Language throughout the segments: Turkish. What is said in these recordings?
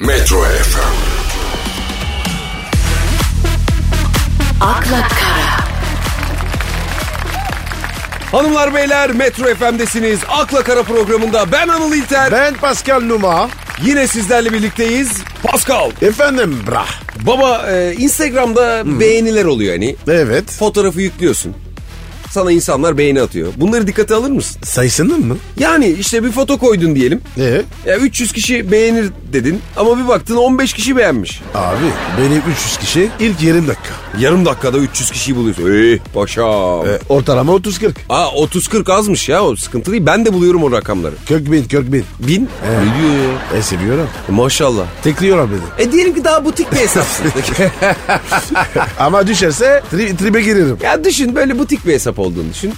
Metro FM, akla kara, Hanımlar beyler Metro FM'desiniz. Akla Kara programında ben Anıl İlter. Ben Pascal Numa. Yine sizlerle birlikteyiz. Pascal. Efendim bra. Baba e, Instagram'da beğeniler oluyor hani. Evet. Fotoğrafı yüklüyorsun. Sana insanlar beğeni atıyor. Bunları dikkate alır mısın? Sayısını mı? Yani işte bir foto koydun diyelim. Ee? Ya 300 kişi beğenir dedin ama bir baktın 15 kişi beğenmiş. Abi beni 300 kişi ilk yarım dakika. Yarım dakikada 300 kişiyi buluyorsun. Ey paşam. Ee, ortalama 30-40. Aa 30-40 azmış ya o sıkıntı değil. Ben de buluyorum o rakamları. 40 bin 40 bin. Bin? Ne diyor ya? E seviyorum. Maşallah. Tekliyorlar beni. E diyelim ki daha butik bir hesapsın. Ama düşerse tri- tribe girerim. ya düşün böyle butik bir hesap olduğunu düşün.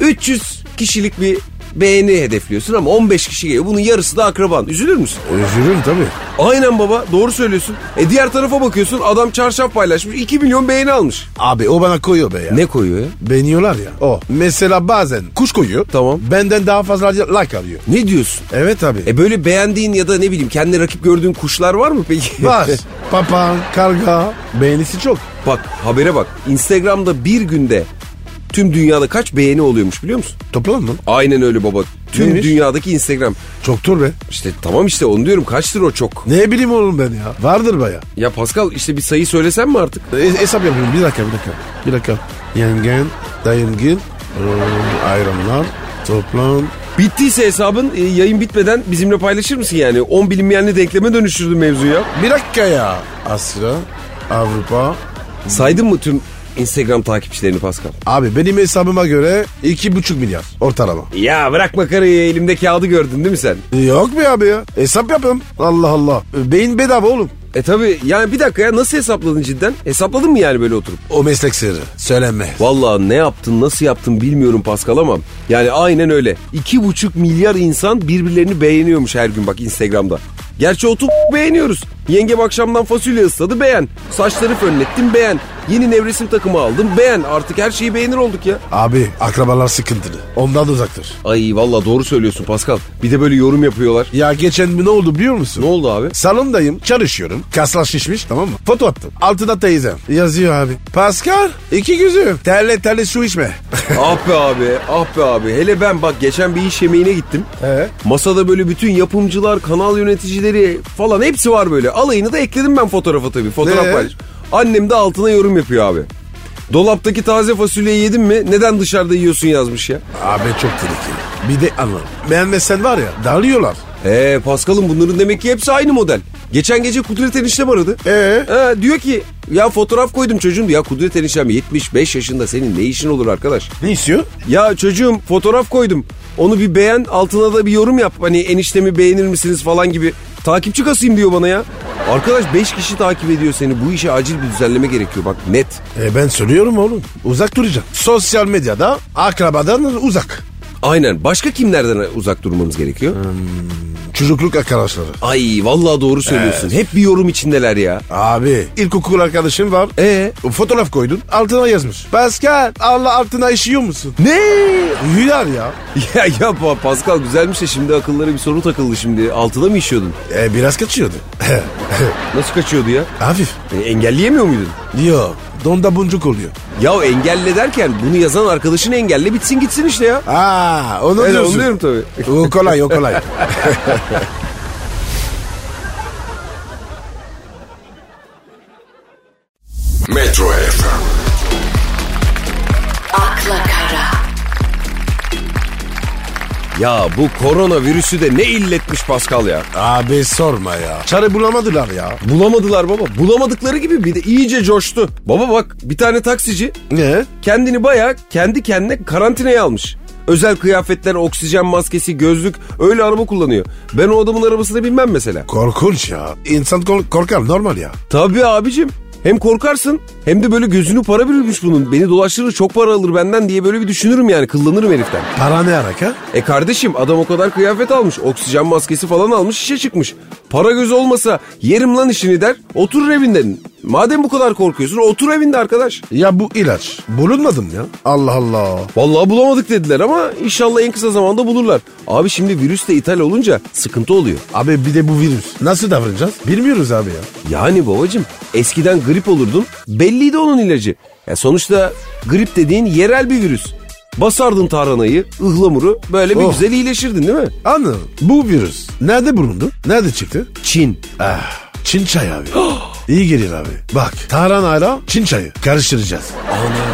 300 kişilik bir beğeni hedefliyorsun ama 15 kişi geliyor. Bunun yarısı da akraban. Üzülür müsün? Üzülürüm tabii. Aynen baba doğru söylüyorsun. E diğer tarafa bakıyorsun adam çarşaf paylaşmış 2 milyon beğeni almış. Abi o bana koyuyor be ya. Ne koyuyor ya? Beğeniyorlar ya. O. Mesela bazen kuş koyuyor. Tamam. Benden daha fazla like alıyor. Ne diyorsun? Evet abi. E böyle beğendiğin ya da ne bileyim kendi rakip gördüğün kuşlar var mı peki? Var. Papağan, karga. Beğenisi çok. bak habere bak. Instagram'da bir günde tüm dünyada kaç beğeni oluyormuş biliyor musun? Toplam mı? Aynen öyle baba. Tüm Neymiş? dünyadaki Instagram. Çoktur be. İşte tamam işte onu diyorum kaçtır o çok. Ne bileyim oğlum ben ya. Vardır baya. Ya Pascal işte bir sayı söylesen mi artık? E, hesap yapıyorum. Bir dakika, bir dakika. Bir dakika. Yengen, dayıngil, ayranlar, toplam. Bittiyse hesabın e, yayın bitmeden bizimle paylaşır mısın yani? 10 bilinmeyenli denkleme dönüştürdün mevzuyu ya. Bir dakika ya. Asya, Avrupa. Saydın mı tüm Instagram takipçilerini Pascal? Abi benim hesabıma göre iki buçuk milyar ortalama. Ya bırak makarayı elimde kağıdı gördün değil mi sen? Yok be abi ya. Hesap yapıyorum. Allah Allah. Beyin bedava oğlum. E tabi yani bir dakika ya nasıl hesapladın cidden? Hesapladın mı yani böyle oturup? O meslek sırrı. Söylenme. Vallahi ne yaptın nasıl yaptın bilmiyorum Pascal ama yani aynen öyle. 2,5 milyar insan birbirlerini beğeniyormuş her gün bak Instagram'da. Gerçi oturup beğeniyoruz. Yengem akşamdan fasulye ısladı beğen. Saçları fönlettim beğen. Yeni nevresim takımı aldım beğen. Artık her şeyi beğenir olduk ya. Abi akrabalar sıkıntılı. Ondan da uzaktır. Ay vallahi doğru söylüyorsun Pascal. Bir de böyle yorum yapıyorlar. Ya geçen ne oldu biliyor musun? Ne oldu abi? Salondayım çalışıyorum. Kaslar şişmiş tamam mı? Foto attım. Altına teyzem. Yazıyor abi. Pascal iki gözüm. Terle terle su içme. ah be abi, ah be abi. Hele ben bak geçen bir iş yemeğine gittim. Ee? Masada böyle bütün yapımcılar, kanal yöneticileri falan hepsi var böyle. Alayını da ekledim ben fotoğrafa tabii. Fotoğraf Ee? paylaş. Annem de altına yorum yapıyor abi. Dolaptaki taze fasulyeyi yedin mi? Neden dışarıda yiyorsun yazmış ya. abi çok tehlikeli. Bir de anlam. Beğenmezsen var ya darlıyorlar. Ee Paskal'ım bunların demek ki hepsi aynı model. Geçen gece Kudret eniştem aradı. Ee? Ee, diyor ki ya fotoğraf koydum çocuğum. Ya Kudret eniştem 75 yaşında senin ne işin olur arkadaş? Ne istiyor? Ya çocuğum fotoğraf koydum. Onu bir beğen altına da bir yorum yap. Hani eniştemi beğenir misiniz falan gibi. Takipçi kasayım diyor bana ya. Arkadaş 5 kişi takip ediyor seni. Bu işe acil bir düzenleme gerekiyor bak net. E ben söylüyorum oğlum. Uzak duracaksın. Sosyal medyada akrabadan uzak. Aynen. Başka kimlerden uzak durmamız gerekiyor? Çocukluk arkadaşları. Ay vallahi doğru söylüyorsun. Hep bir yorum içindeler ya. Abi ilkokul arkadaşın var. E Fotoğraf koydun altına yazmış. Pascal Allah altına işiyor musun? ne? Hülar ya. Ya ya Pa- Pascal güzelmiş de şimdi akıllara bir soru takıldı şimdi. Altıda mı işiyordun? E, biraz kaçıyordu. Nasıl kaçıyordu ya? Hafif. E, engelleyemiyor muydun? Yo donda buncuk oluyor. Ya engelle derken bunu yazan arkadaşını engelle bitsin gitsin işte ya. Aa onu Evet diyorsun. onu diyorum tabii. O kolay o kolay. Metro FM, akla kara, Ya bu koronavirüsü de ne illetmiş Pascal ya. Abi sorma ya. Çare bulamadılar ya. Bulamadılar baba. Bulamadıkları gibi bir de iyice coştu. Baba bak bir tane taksici Ne? kendini baya kendi kendine karantinaya almış. Özel kıyafetler, oksijen maskesi, gözlük öyle araba kullanıyor. Ben o adamın arabasına binmem mesela. Korkunç ya. İnsan kor- korkar normal ya. Tabii abicim. Hem korkarsın hem de böyle gözünü para bürümüş bunun. Beni dolaştırır çok para alır benden diye böyle bir düşünürüm yani kıllanırım heriften. Para ne arak ha? E kardeşim adam o kadar kıyafet almış, oksijen maskesi falan almış işe çıkmış. Para göz olmasa yerim lan işini der, oturur evinde. Madem bu kadar korkuyorsun otur evinde arkadaş. Ya bu ilaç bulunmadı mı ya? Allah Allah. Vallahi bulamadık dediler ama inşallah en kısa zamanda bulurlar. Abi şimdi virüs de ithal olunca sıkıntı oluyor. Abi bir de bu virüs. Nasıl davranacağız? Bilmiyoruz abi ya. Yani babacım eskiden grip olurdun belliydi onun ilacı. Ya sonuçta grip dediğin yerel bir virüs. Basardın tarhanayı, ıhlamuru böyle bir Oh. güzel iyileşirdin değil mi? Anladım. Bu virüs nerede bulundu? Nerede çıktı? Çin. Ah, Çin çayı abi. İyi gelir abi. Bak tarhanayla Çin çayı karıştıracağız.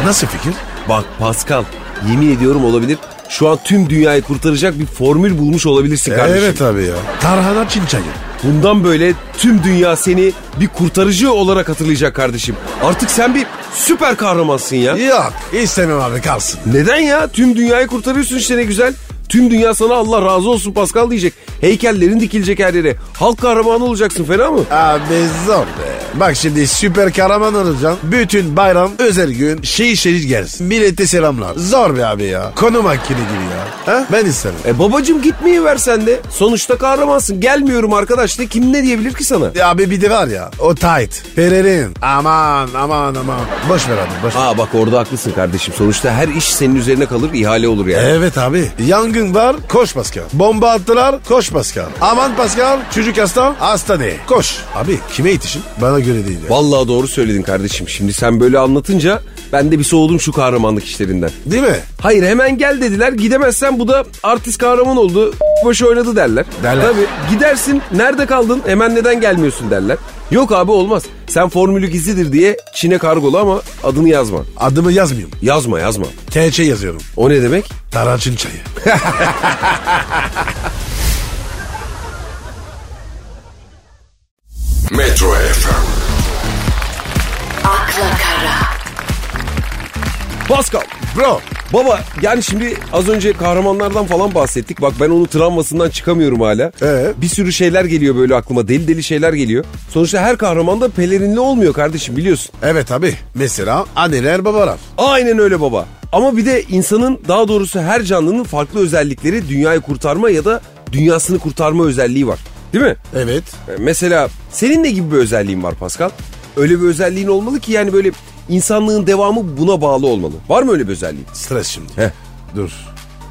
Nasıl fikir? Bak Pascal yemin ediyorum olabilir. Şu an tüm dünyayı kurtaracak bir formül bulmuş olabilirsin kardeşim. Evet abi ya. Tarhana Çin çayı. Bundan böyle tüm dünya seni bir kurtarıcı olarak hatırlayacak kardeşim. Artık sen bir süper kahramansın ya. Yok istemem abi kalsın. Neden ya? Tüm dünyayı kurtarıyorsun işte ne güzel. Tüm dünya sana Allah razı olsun Pascal diyecek. Heykellerin dikilecek her yere. Halk kahramanı olacaksın fena mı? Abi zor be. Bak şimdi süper kahraman olacaksın. Bütün bayram özel gün şehir şehir gelsin. Millete selamlar. Zor be abi ya. Konu makine gibi ya. Ha? Ben istemem. E babacım gitmeyi versen de sonuçta kahramansın. Gelmiyorum arkadaş de kim ne diyebilir ki sana? Ya abi bir de var ya o tight. Pererin. Aman aman aman. Boş ver abi boş ver. Aa bak orada haklısın kardeşim. Sonuçta her iş senin üzerine kalır ihale olur yani. Evet abi. Yangın var koş Pascal. Bomba attılar koş Pascal. Aman Pascal çocuk hasta hastane. Koş. Abi kime yetişin? Bana göre değil. ya. Vallahi doğru söyledin kardeşim. Şimdi sen böyle anlatınca ben de bir soğudum şu kahramanlık işlerinden. Değil mi? Hayır hemen gel dediler. Gidemezsen bu da artist kahraman oldu. Başı oynadı derler. Derler. Tabii gidersin nerede kaldın hemen neden gelmiyorsun derler. Yok abi olmaz. Sen formülü gizlidir diye Çin'e kargolu ama adını yazma. Adımı yazmıyorum. Yazma yazma. TC yazıyorum. O ne demek? Tarçın çayı. Metro FM, akla kara, Pascal. Bro Baba yani şimdi az önce kahramanlardan falan bahsettik. Bak ben onu travmasından çıkamıyorum hala. Ee? Bir sürü şeyler geliyor böyle aklıma. Deli deli şeyler geliyor. Sonuçta her kahraman da pelerinli olmuyor kardeşim biliyorsun. Evet abi. Mesela anneler babalar. Aynen öyle baba. Ama bir de insanın daha doğrusu her canlının farklı özellikleri dünyayı kurtarma ya da dünyasını kurtarma özelliği var. Değil mi? Evet. E, Mesela senin ne gibi bir özelliğin var Pascal? Öyle bir özelliğin olmalı ki yani böyle insanlığın devamı buna bağlı olmalı. Var mı öyle bir özelliğin? Stres şimdi. Heh. Dur.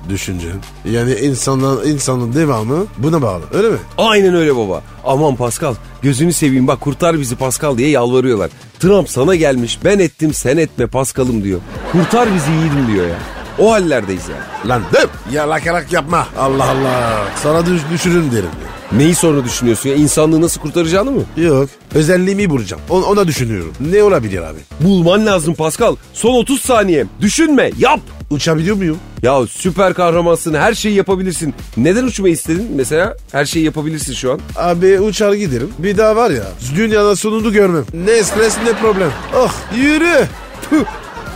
Düşünce. Yani insanın, insanın devamı buna bağlı öyle mi? Aynen öyle baba. Aman Pascal gözünü seveyim bak kurtar bizi Pascal diye yalvarıyorlar. Trump sana gelmiş ben ettim sen etme Pascal'ım diyor. Kurtar bizi yiğidim diyor ya. O hallerdeyiz yani. Lan dıp. Ya lakarak yapma. Allah Allah. Sana düş, düşürürüm derim. Neyi sonra düşünüyorsun ya insanlığı nasıl kurtaracağını mı? Yok. Özelliğimi bulacağım. Ona, ona düşünüyorum. Ne olabilir abi? Bulman lazım Pascal. Son 30 saniye. Düşünme, yap. Uçabiliyor muyum? Ya süper kahramansın, her şeyi yapabilirsin. Neden uçmayı istedin mesela? Her şeyi yapabilirsin şu an. Abi uçar giderim. Bir daha var ya. Dünyanın sonunu görmem. Ne stres ne problem. Oh yürü. Püh,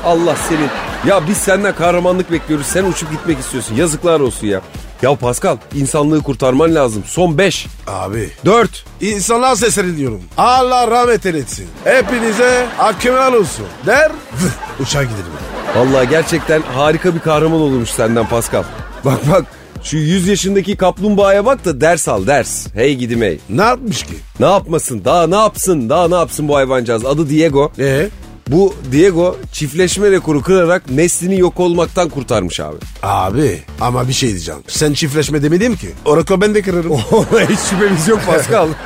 Allah senin. Ya biz senden kahramanlık bekliyoruz. Sen uçup gitmek istiyorsun. Yazıklar olsun ya. Ya Pascal, insanlığı kurtarman lazım. Son 5, Abi 4. İnsanlar sesleniyorum. Allah rahmet eylesin. Hepinize hakkımlar olsun. Der vıh, uçağa gidelim. Vallahi gerçekten harika bir kahraman olmuş senden Pascal. Bak bak şu 100 yaşındaki kaplumbağaya bak da ders al ders. Hey gidim hey. Ne yapmış ki? Ne yapmasın daha ne yapsın daha ne yapsın bu hayvancağız adı Diego. Ee? Bu Diego çiftleşme rekoru kırarak neslini yok olmaktan kurtarmış abi. Abi ama bir şey diyeceğim. Sen çiftleşme demedin ki. Orako ben de kırarım. Hiç şüphemiz yok Pascal.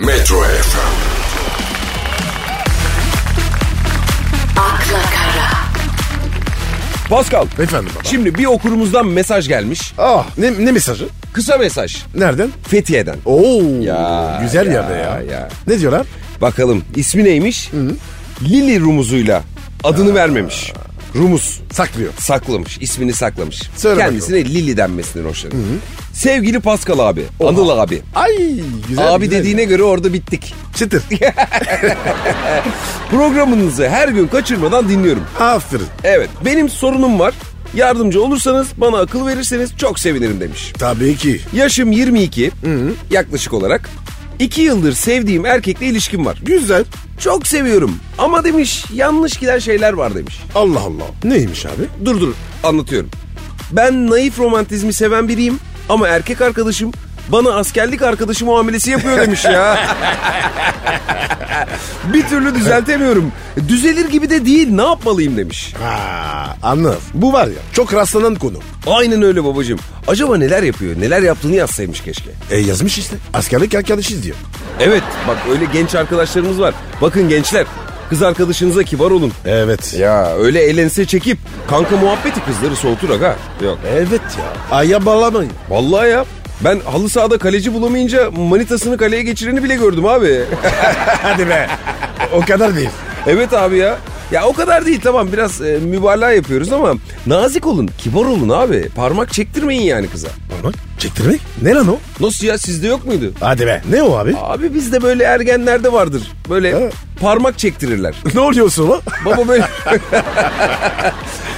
Metro FM, akla kara, Pascal. Efendim baba. Şimdi bir okurumuzdan mesaj gelmiş. Ah ne, ne mesajı? Kısa mesaj. Nereden? Fethiye'den. Oo Ya, güzel ya, yerde ya. ya. Ne diyorlar? Bakalım ismi neymiş? Lili Rumuzuyla. Adını vermemiş. Rumuz. Saklıyor. saklamış. ismini saklamış. Söyle bakalım. Kendisine Lili denmesini hoşlanır. Sevgili Pascal abi, Anıl abi. Ay güzel. abi güzel dediğine ya. göre orada bittik. Çıtır. Programınızı her gün kaçırmadan dinliyorum. Aferin. Evet, benim sorunum var. Yardımcı olursanız bana akıl verirseniz çok sevinirim demiş. Tabii ki. Yaşım 22 yaklaşık olarak. 2 yıldır sevdiğim erkekle ilişkim var. Güzel. Çok seviyorum ama demiş yanlış giden şeyler var demiş. Allah Allah. Neymiş abi? Dur dur anlatıyorum. Ben naif romantizmi seven biriyim Ama erkek arkadaşım bana askerlik arkadaşı muamelesi yapıyor demiş ya. bir türlü düzeltemiyorum. Düzelir gibi de değil ne yapmalıyım demiş. Ha, anladım. Bu var ya çok rastlanan konu. Aynen öyle babacığım. Acaba neler yapıyor? Neler yaptığını yazsaymış keşke. E yazmış işte. Askerlik arkadaşıyız diyor. Evet bak öyle genç arkadaşlarımız var. Bakın gençler kız arkadaşınıza kibar olun. Evet. Ya öyle eğlense çekip kanka muhabbeti kızları soğutur aga. Yok. Evet ya. Aya bağlamayın. Vallahi ya ben halı sahada kaleci bulamayınca manitasını kaleye geçireni bile gördüm abi. Hadi be. o kadar değil. evet abi ya. Ya o kadar değil tamam biraz e, mübalağa yapıyoruz ama nazik olun, kibar olun abi. Parmak çektirmeyin yani kıza. Parmak çektirmek? Ne lan o? Nasıl ya sizde yok muydu? Hadi be. Ne o abi? Abi bizde böyle ergenlerde vardır. Böyle Evet. parmak çektirirler. ne oluyorsun lan? Baba böyle...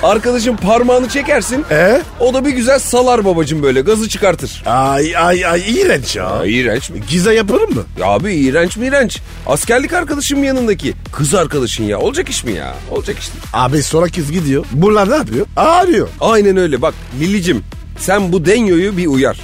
Arkadaşın parmağını çekersin. Ee? O da bir güzel salar babacım böyle gazı çıkartır. Ay ay ay iğrenç ya. İğrenç mi? Giza yaparım mı? Ya abi iğrenç mi iğrenç? Askerlik arkadaşım yanındaki. Kız arkadaşın ya. Olacak iş mi ya? Olacak iş. değil. Abi sonra kız gidiyor. Bunlar ne yapıyor? Ağrıyor. Aynen öyle bak Lilicim. Sen bu denyoyu bir uyar.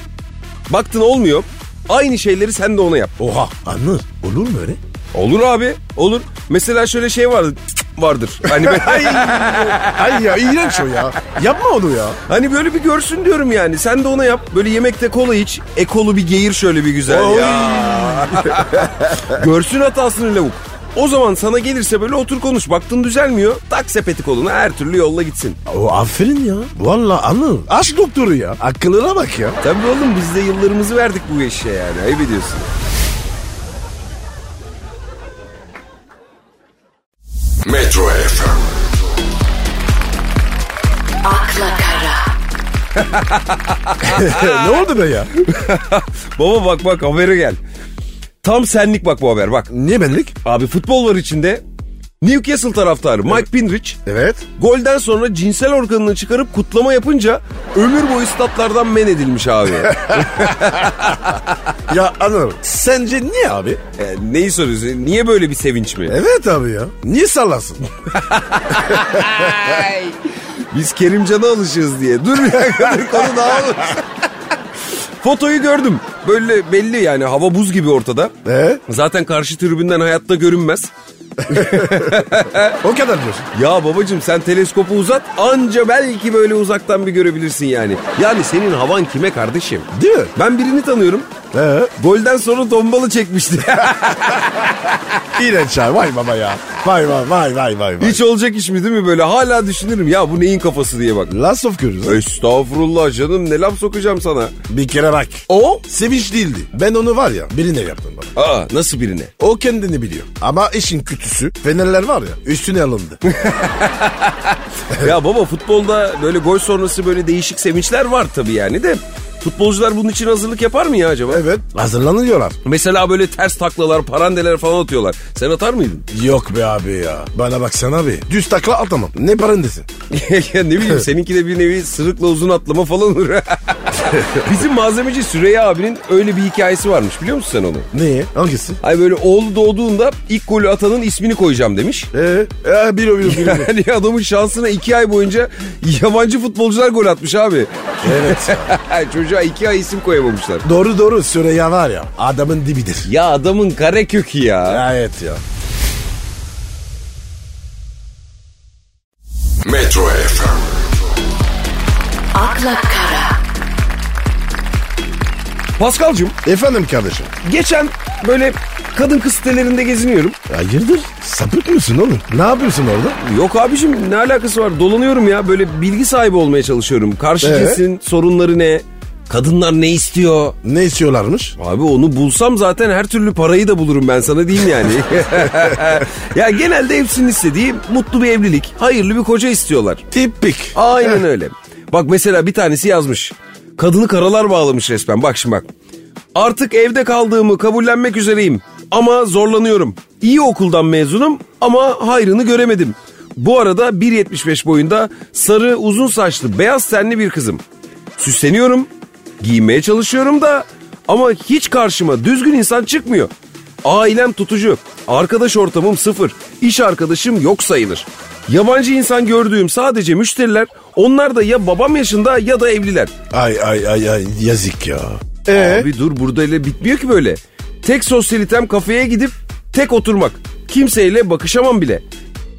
Baktın olmuyor. Aynı şeyleri sen de ona yap. Oha. Anlı. Olur mu öyle? Olur abi. Olur. Mesela şöyle şey vardır. vardır. Hani böyle, Ay ya iğrenç o ya. Yapma onu ya. hani böyle bir görsün diyorum yani. Sen de ona yap. Böyle yemekte kola iç. E kolu bir geğir şöyle bir güzel ya. Görsün hatasını lavuk. O zaman sana gelirse böyle otur konuş. Baktın düzelmiyor. Tak sepeti koluna her türlü yolla gitsin. O aferin ya. Valla anıl. Aşk doktoru ya. Akıllına bak ya. Tabii oğlum biz de yıllarımızı verdik bu işe yani ayıp ediyorsun. Metro FM, akla kara, ne oldu be ya? Baba bak bak habere gel. Tam senlik bak bu haber bak. Niye benlik? Abi futbol var içinde. Newcastle taraftarı Mike Pinrich Evet. golden sonra cinsel organını çıkarıp kutlama yapınca ömür boyu statlardan men edilmiş abi. Ya anıl. Sence niye abi? E, neyi soruyorsun? Niye böyle bir sevinç mi? Evet abi ya. Niye sallasın? Biz Kerimcan'a alışırız diye. Dur bir dakika dur, konu dağılır. Fotoyu gördüm. Böyle belli yani hava buz gibi ortada. Ee? Zaten karşı tribünden hayatta görünmez. O kadar diyorsun. Ya babacım sen teleskopu uzat anca belki böyle uzaktan bir görebilirsin yani. Yani senin havan kime kardeşim? Değil mi? Ben birini tanıyorum. E? Ee? Golden sonra tombalı çekmişti. İğrenç ya. Vay baba ya. Vay vay vay vay vay. vay. Hiç olacak iş mi değil mi böyle? Hala düşünürüm ya bu neyin kafası diye bak. Last of Us. Estağfurullah canım ne laf sokacağım sana. Bir kere bak. O? Sevinç değildi. Ben onu var ya birine yaptım bana. Aa nasıl birine? O kendini biliyor. Ama işin kötüsü fenerler var ya üstüne alındı. Ya baba futbolda böyle gol sonrası böyle değişik sevinçler var tabii yani de. Futbolcular bunun için hazırlık yapar mı ya acaba? evet hazırlanıyorlar. Mesela böyle ters taklalar, parandeler falan atıyorlar. Sen atar mıydın? Yok be abi ya. Bana baksana abi. Düz takla atamam. Ne parandesi? ya ne bileyim seninki de bir nevi sırıkla uzun atlama falan olur. Bizim malzemeci Süreyya abinin öyle bir hikayesi varmış biliyor musun sen onu? Niye? Hangisi? Ay böyle oğlu doğduğunda ilk golü atanın ismini koyacağım demiş. Ee, ee bir o bir o bir o. Yani adamın şansına iki ay boyunca yabancı futbolcular gol atmış abi. Evet. Çocuğa iki ay isim koyamamışlar. doğru doğru Süreyya var ya adamın dibidir. Ya adamın kare kökü ya. Evet ya. Metro FM, akla kara, Paskal'cığım Efendim kardeşim. geçen böyle kadın kız sitelerinde geziniyorum. Hayırdır? Sapık mısın oğlum? Ne yapıyorsun orada? Yok abicim ne alakası var dolanıyorum ya böyle bilgi sahibi olmaya çalışıyorum. Karşı Ee? cinsin sorunları ne? Kadınlar ne istiyor? Ne istiyorlarmış? Abi onu bulsam zaten her türlü parayı da bulurum ben sana diyeyim yani. ya genelde hepsinin istediği mutlu bir evlilik, hayırlı bir koca istiyorlar. Tipik. Aynen öyle. Bak mesela bir tanesi yazmış. Kadını karalar bağlamış resmen. Bak şimdi bak. Artık evde kaldığımı kabullenmek üzereyim. Ama zorlanıyorum. İyi okuldan mezunum ama hayrını göremedim. Bu arada 1.75 boyunda sarı uzun saçlı beyaz tenli bir kızım. Süsleniyorum. Giymeye çalışıyorum da ama hiç karşıma düzgün insan çıkmıyor. Ailem tutucu. Arkadaş ortamım sıfır. İş arkadaşım yok sayılır. Yabancı insan gördüğüm sadece müşteriler Onlar da ya babam yaşında ya da evliler. Ay ay ay ay yazık ya. Ee? Abi dur burada ile bitmiyor ki böyle. Tek sosyalitem kafeye gidip tek oturmak. Kimseyle bakışamam bile.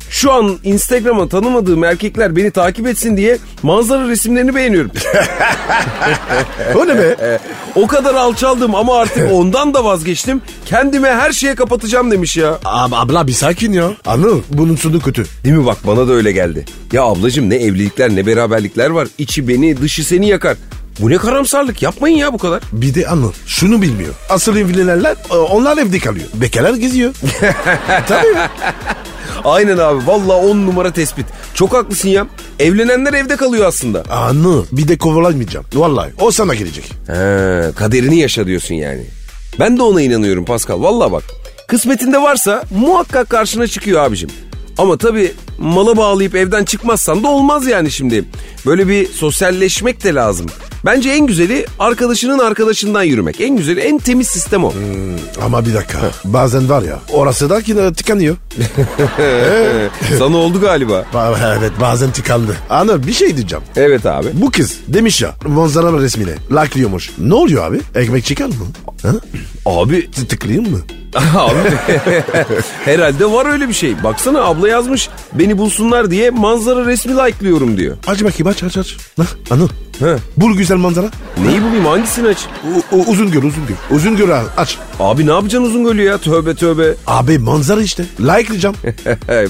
Şu an Instagram'a tanımadığım erkekler beni takip etsin diye manzara resimlerini beğeniyorum. o ne be? o kadar alçaldım ama artık ondan da vazgeçtim. Kendime her şeye kapatacağım demiş ya. Ab abla bir sakin ya. Anıl bunun sonu kötü. Değil mi bak bana da öyle geldi. Ya ablacım ne evlilikler ne beraberlikler var. İçi beni dışı seni yakar. Bu ne karamsarlık yapmayın ya bu kadar. Bir de Anıl şunu bilmiyor. Asıl evlilerler e, onlar evde kalıyor. Bekarlar geziyor. Tabii ya. Aynen abi valla on numara tespit. Çok haklısın ya. Evlenenler evde kalıyor aslında. Anıl bir de kovalanmayacağım. Vallahi o sana gelecek. He, kaderini yaşa diyorsun yani. Ben de ona inanıyorum Pascal. Valla bak kısmetinde varsa muhakkak karşına çıkıyor abicim. Ama tabii mala bağlayıp evden çıkmazsan da olmaz yani şimdi. Böyle bir sosyalleşmek de lazım. Bence en güzeli arkadaşının arkadaşından yürümek. En güzeli en temiz sistem o. Ama bir dakika. Bazen var ya orası da ki de tıkanıyor. Sana oldu galiba. Ba- evet bazen tıkandı. Anıl bir şey diyeceğim. Evet abi. Bu kız demiş ya manzara resmine laklıyormuş. Ne oluyor abi? Ekmek çıkar mı? Ha? Abi Tı- Tıklayayım mı? Abi herhalde var öyle bir şey. Baksana abla yazmış beni bulsunlar diye manzara resmi like'lıyorum diyor. Aç bakayım aç aç aç. Lan Anıl. He. Bul güzel manzara. Neyi bulayım hangisini aç? U- u- uzun gör uzun gör. Uzun gör abi, aç. Abi ne yapacaksın uzun gölü ya tövbe tövbe. Abi manzara işte. Like'layacağım.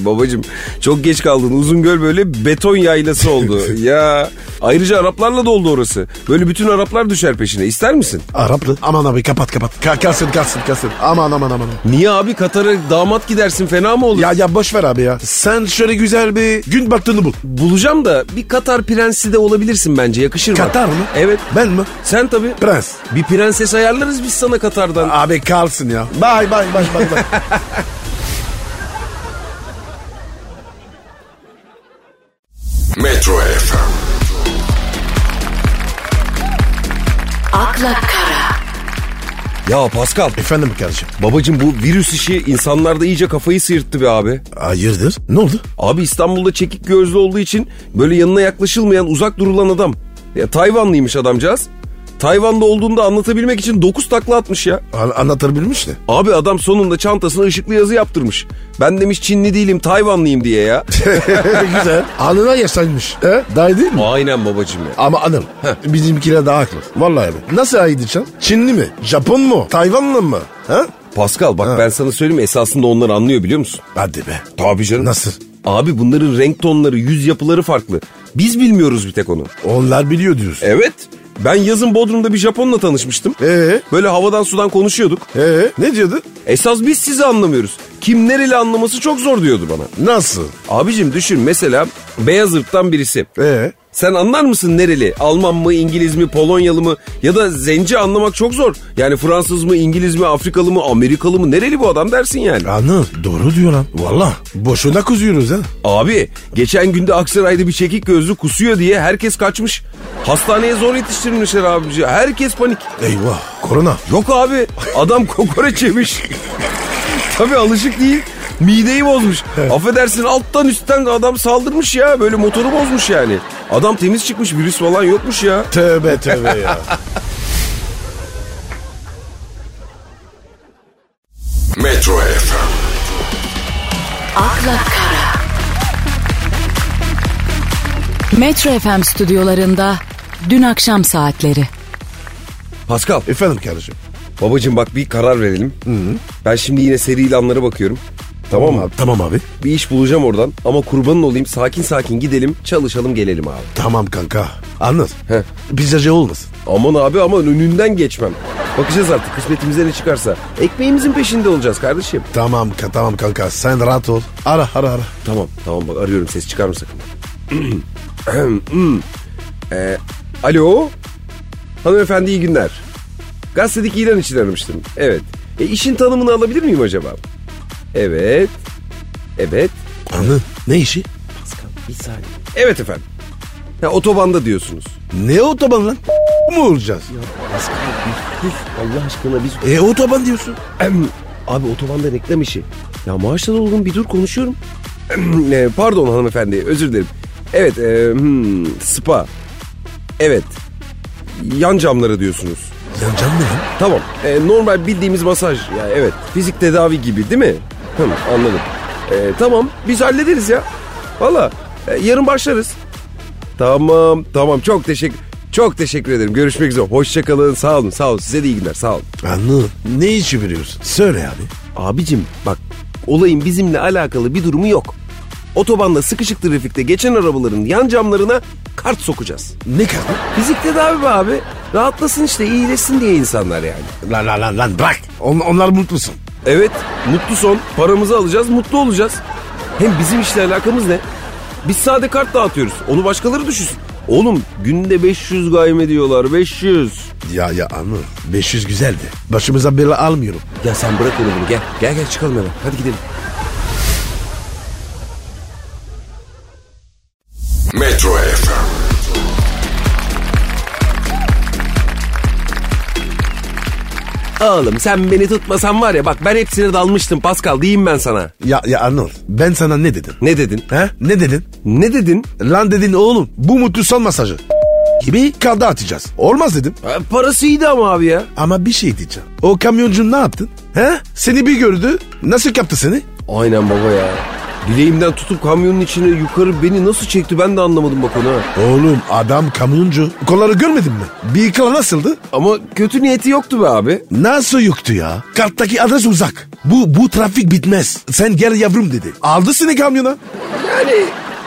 Babacım çok geç kaldın uzun göl böyle beton yaylası oldu ya. Ayrıca Araplarla da oldu orası. Böyle bütün Araplar düşer peşine ister misin? Araplı. Aman abi kapat kapat. Ka- kalsın kalsın kalsın. Aman aman aman. Niye abi Katar'a damat gidersin fena mı olur? Ya ya boş ver abi ya. Sen şöyle güzel bir gün battığını bul. Bulacağım da bir Katar prensi de olabilirsin bence yakışır bak. Katar mı? Evet. Ben mi? Sen tabii. Prens. Bir prenses ayarlarız biz sana Katar'dan. Abi kalsın ya. Bay bay bay bay bay. Metro FM, akla kara, Ya Pascal Efendim kardeşim. babacım bu virüs işi insanlarda iyice kafayı sıyırttı be abi. Hayırdır? Ne oldu? Abi İstanbul'da çekik gözlü olduğu için böyle yanına yaklaşılmayan uzak durulan adam. Ya Tayvanlıymış adamcağız. Tayvan'da olduğunda anlatabilmek için 9 takla atmış ya. An- anlatabilmiş de. Abi adam sonunda çantasına ışıklı yazı yaptırmış. Ben demiş Çinli değilim Tayvanlıyım diye ya. güzel. Anına yaşanmış. He? Daha iyi değil mi? Aynen babacım ya. Ama Anıl bizimkiler daha haklı. Vallahi abi. Nasıl ayıydı can? Çinli mi? Japon mu? Tayvanlı mı? Ha? Pascal bak Ha. ben sana söyleyeyim esasında onlar anlıyor biliyor musun? Hadi be. Tabii canım. Nasıl? Abi bunların renk tonları, yüz yapıları farklı. Biz bilmiyoruz bir tek onu. Onlar biliyor diyorsun. Evet. Ben yazın Bodrum'da bir Japonla tanışmıştım. Ee? Böyle havadan sudan konuşuyorduk. Ee, ne diyordu? Esas biz sizi anlamıyoruz. Kim nereli anlaması çok zor diyordu bana. Nasıl? Abicim düşün mesela beyaz ırktan birisi. Ee, Sen anlar mısın nereli? Alman mı, İngiliz mi, Polonyalı mı? Ya da zenci anlamak çok zor. Yani Fransız mı, İngiliz mi, Afrikalı mı, Amerikalı mı? Nereli bu adam dersin yani. Anıl doğru diyor lan. Valla boşuna kızıyoruz ha. Abi geçen günde Aksaray'da bir çekik gözlü kusuyor diye herkes kaçmış. Hastaneye zor yetiştirilmişler abici. Herkes panik. Eyvah korona. Yok abi adam kokoreç yemiş. Tabii alışık değil. Mideyi bozmuş. Affedersin alttan üstten adam saldırmış ya. Böyle motoru bozmuş yani. Adam temiz çıkmış virüs falan yokmuş ya. Tövbe tövbe ya. Metro FM, akla kara. Metro FM stüdyolarında dün akşam saatleri. Pascal Efendim kardeşim. babacığım bak bir karar verelim. Ben şimdi yine seri ilanlara bakıyorum. Tamam mı? Tamam abi. Bir iş bulacağım oradan ama kurbanın olayım sakin sakin gidelim çalışalım gelelim abi. Tamam kanka. Anıl. He. Pizzacı olmasın. Aman abi aman önünden geçmem. Bakacağız artık kısmetimize ne çıkarsa. Ekmeğimizin peşinde olacağız kardeşim. Tamam ka- tamam kanka sen rahat ol. Ara ara ara. Tamam tamam bak arıyorum ses çıkarma sakın. Ee, alo. Hanımefendi iyi günler. Gazetedeki ilan için aramıştım. Evet. E, işin tanımını alabilir miyim acaba? Evet. Evet. Anıl ne işi? Evet efendim. Ha, otobanda diyorsunuz. Ne otoban lan? mu olacağız? Allah aşkına biz... E otoban diyorsun. Abi otobanda reklam işi. Ya maaşla dolgun bir dur konuşuyorum. Ee, Pardon E, hanımefendi özür dilerim. Evet, e, hmm, spa. Evet. Yan camları diyorsunuz. Yanacağım mı lan? Tamam. e, normal bildiğimiz masaj. Ya evet. Fizik tedavi gibi değil mi? Hı, anladım. E, tamam. Biz hallederiz ya. Valla. e, yarın başlarız. Tamam. Tamam. Çok teşekkür çok teşekkür ederim. Görüşmek üzere. Hoşçakalın. Sağ olun. Sağ olun. Size de iyi günler. Sağ olun. Anladım. Ne işi biliyorsun? Söyle abi. Abicim bak olayın bizimle alakalı bir durumu yok. Otobanda sıkışık trafikte geçen arabaların yan camlarına kart sokacağız. Ne kadar? Fizik tedavi be abi. Rahatlasın işte iyileşsin diye insanlar yani. Lan lan lan lan bırak. On, onlar mutlusun. Evet mutlu son paramızı alacağız mutlu olacağız. Hem bizim işle alakamız ne? Biz sade kart dağıtıyoruz onu başkaları düşünsün. Oğlum günde 500 gayme diyorlar 500. Ya ya anladım. 500 güzeldi. Başımıza bela almıyorum. Ya sen bırak onu bunu gel gel gel çıkalım hemen hadi gidelim. Metro FM, Oğlum sen beni tutmasan var ya bak ben hepsine dalmıştım Pascal diyeyim ben sana. Ya ya Arnold ben sana ne dedim? Ne dedin? He? Ne dedin? Ne dedin? Lan dedin oğlum bu mutlu son masajı gibi kaldı atacağız. Olmaz dedim. E, Parasıydı ama abi ya. Ama bir şey diyeceğim. O kamyoncun ne yaptın? He? Seni bir gördü. Nasıl kaptı seni? Aynen baba ya. Bileğimden tutup kamyonun içine yukarı beni nasıl çekti ben de anlamadım bak onu. ha. Oğlum adam kamyoncu. Kolları görmedin mi? Bir kala nasıldı? Ama kötü niyeti yoktu be abi. Nasıl yoktu ya? Karttaki adres uzak. Bu bu trafik bitmez. Sen gel yavrum dedi. Aldı seni kamyona. Yani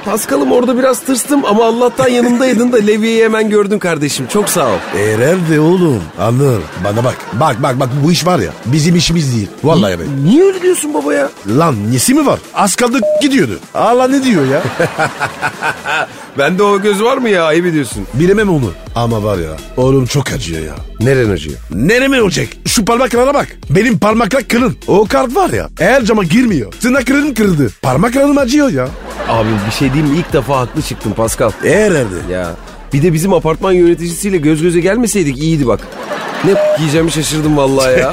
Paskal'ım orada biraz tırstım ama Allah'tan yanımdaydın da Levi'yi hemen gördün kardeşim. Çok sağ ol. Erer de oğlum. Anır. Bana bak. Bak bak bak bu iş var ya. Bizim işimiz değil. Vallahi be. Niye öyle diyorsun baba ya? Lan nesi mi var? Az kaldı gidiyordu. Allah ne diyor ya? Bende o göz var mı ya? Ayıp ediyorsun. Bilemem onu. Ama var ya. Oğlum çok acıyor ya. Neren acıyor? Nereme olacak? Şu parmaklara bak. Benim parmaklar kırın. O kart var ya. Eğer cama girmiyor. Tırnaklarım kırıldı. Parmaklarım acıyor ya. Abi bir şey diyeyim mi? İlk defa haklı çıktın Paskal. Eğer erdi. Ya bir de bizim apartman yöneticisiyle göz göze gelmeseydik iyiydi bak. Ne yiyeceğimi şaşırdım vallahi ya.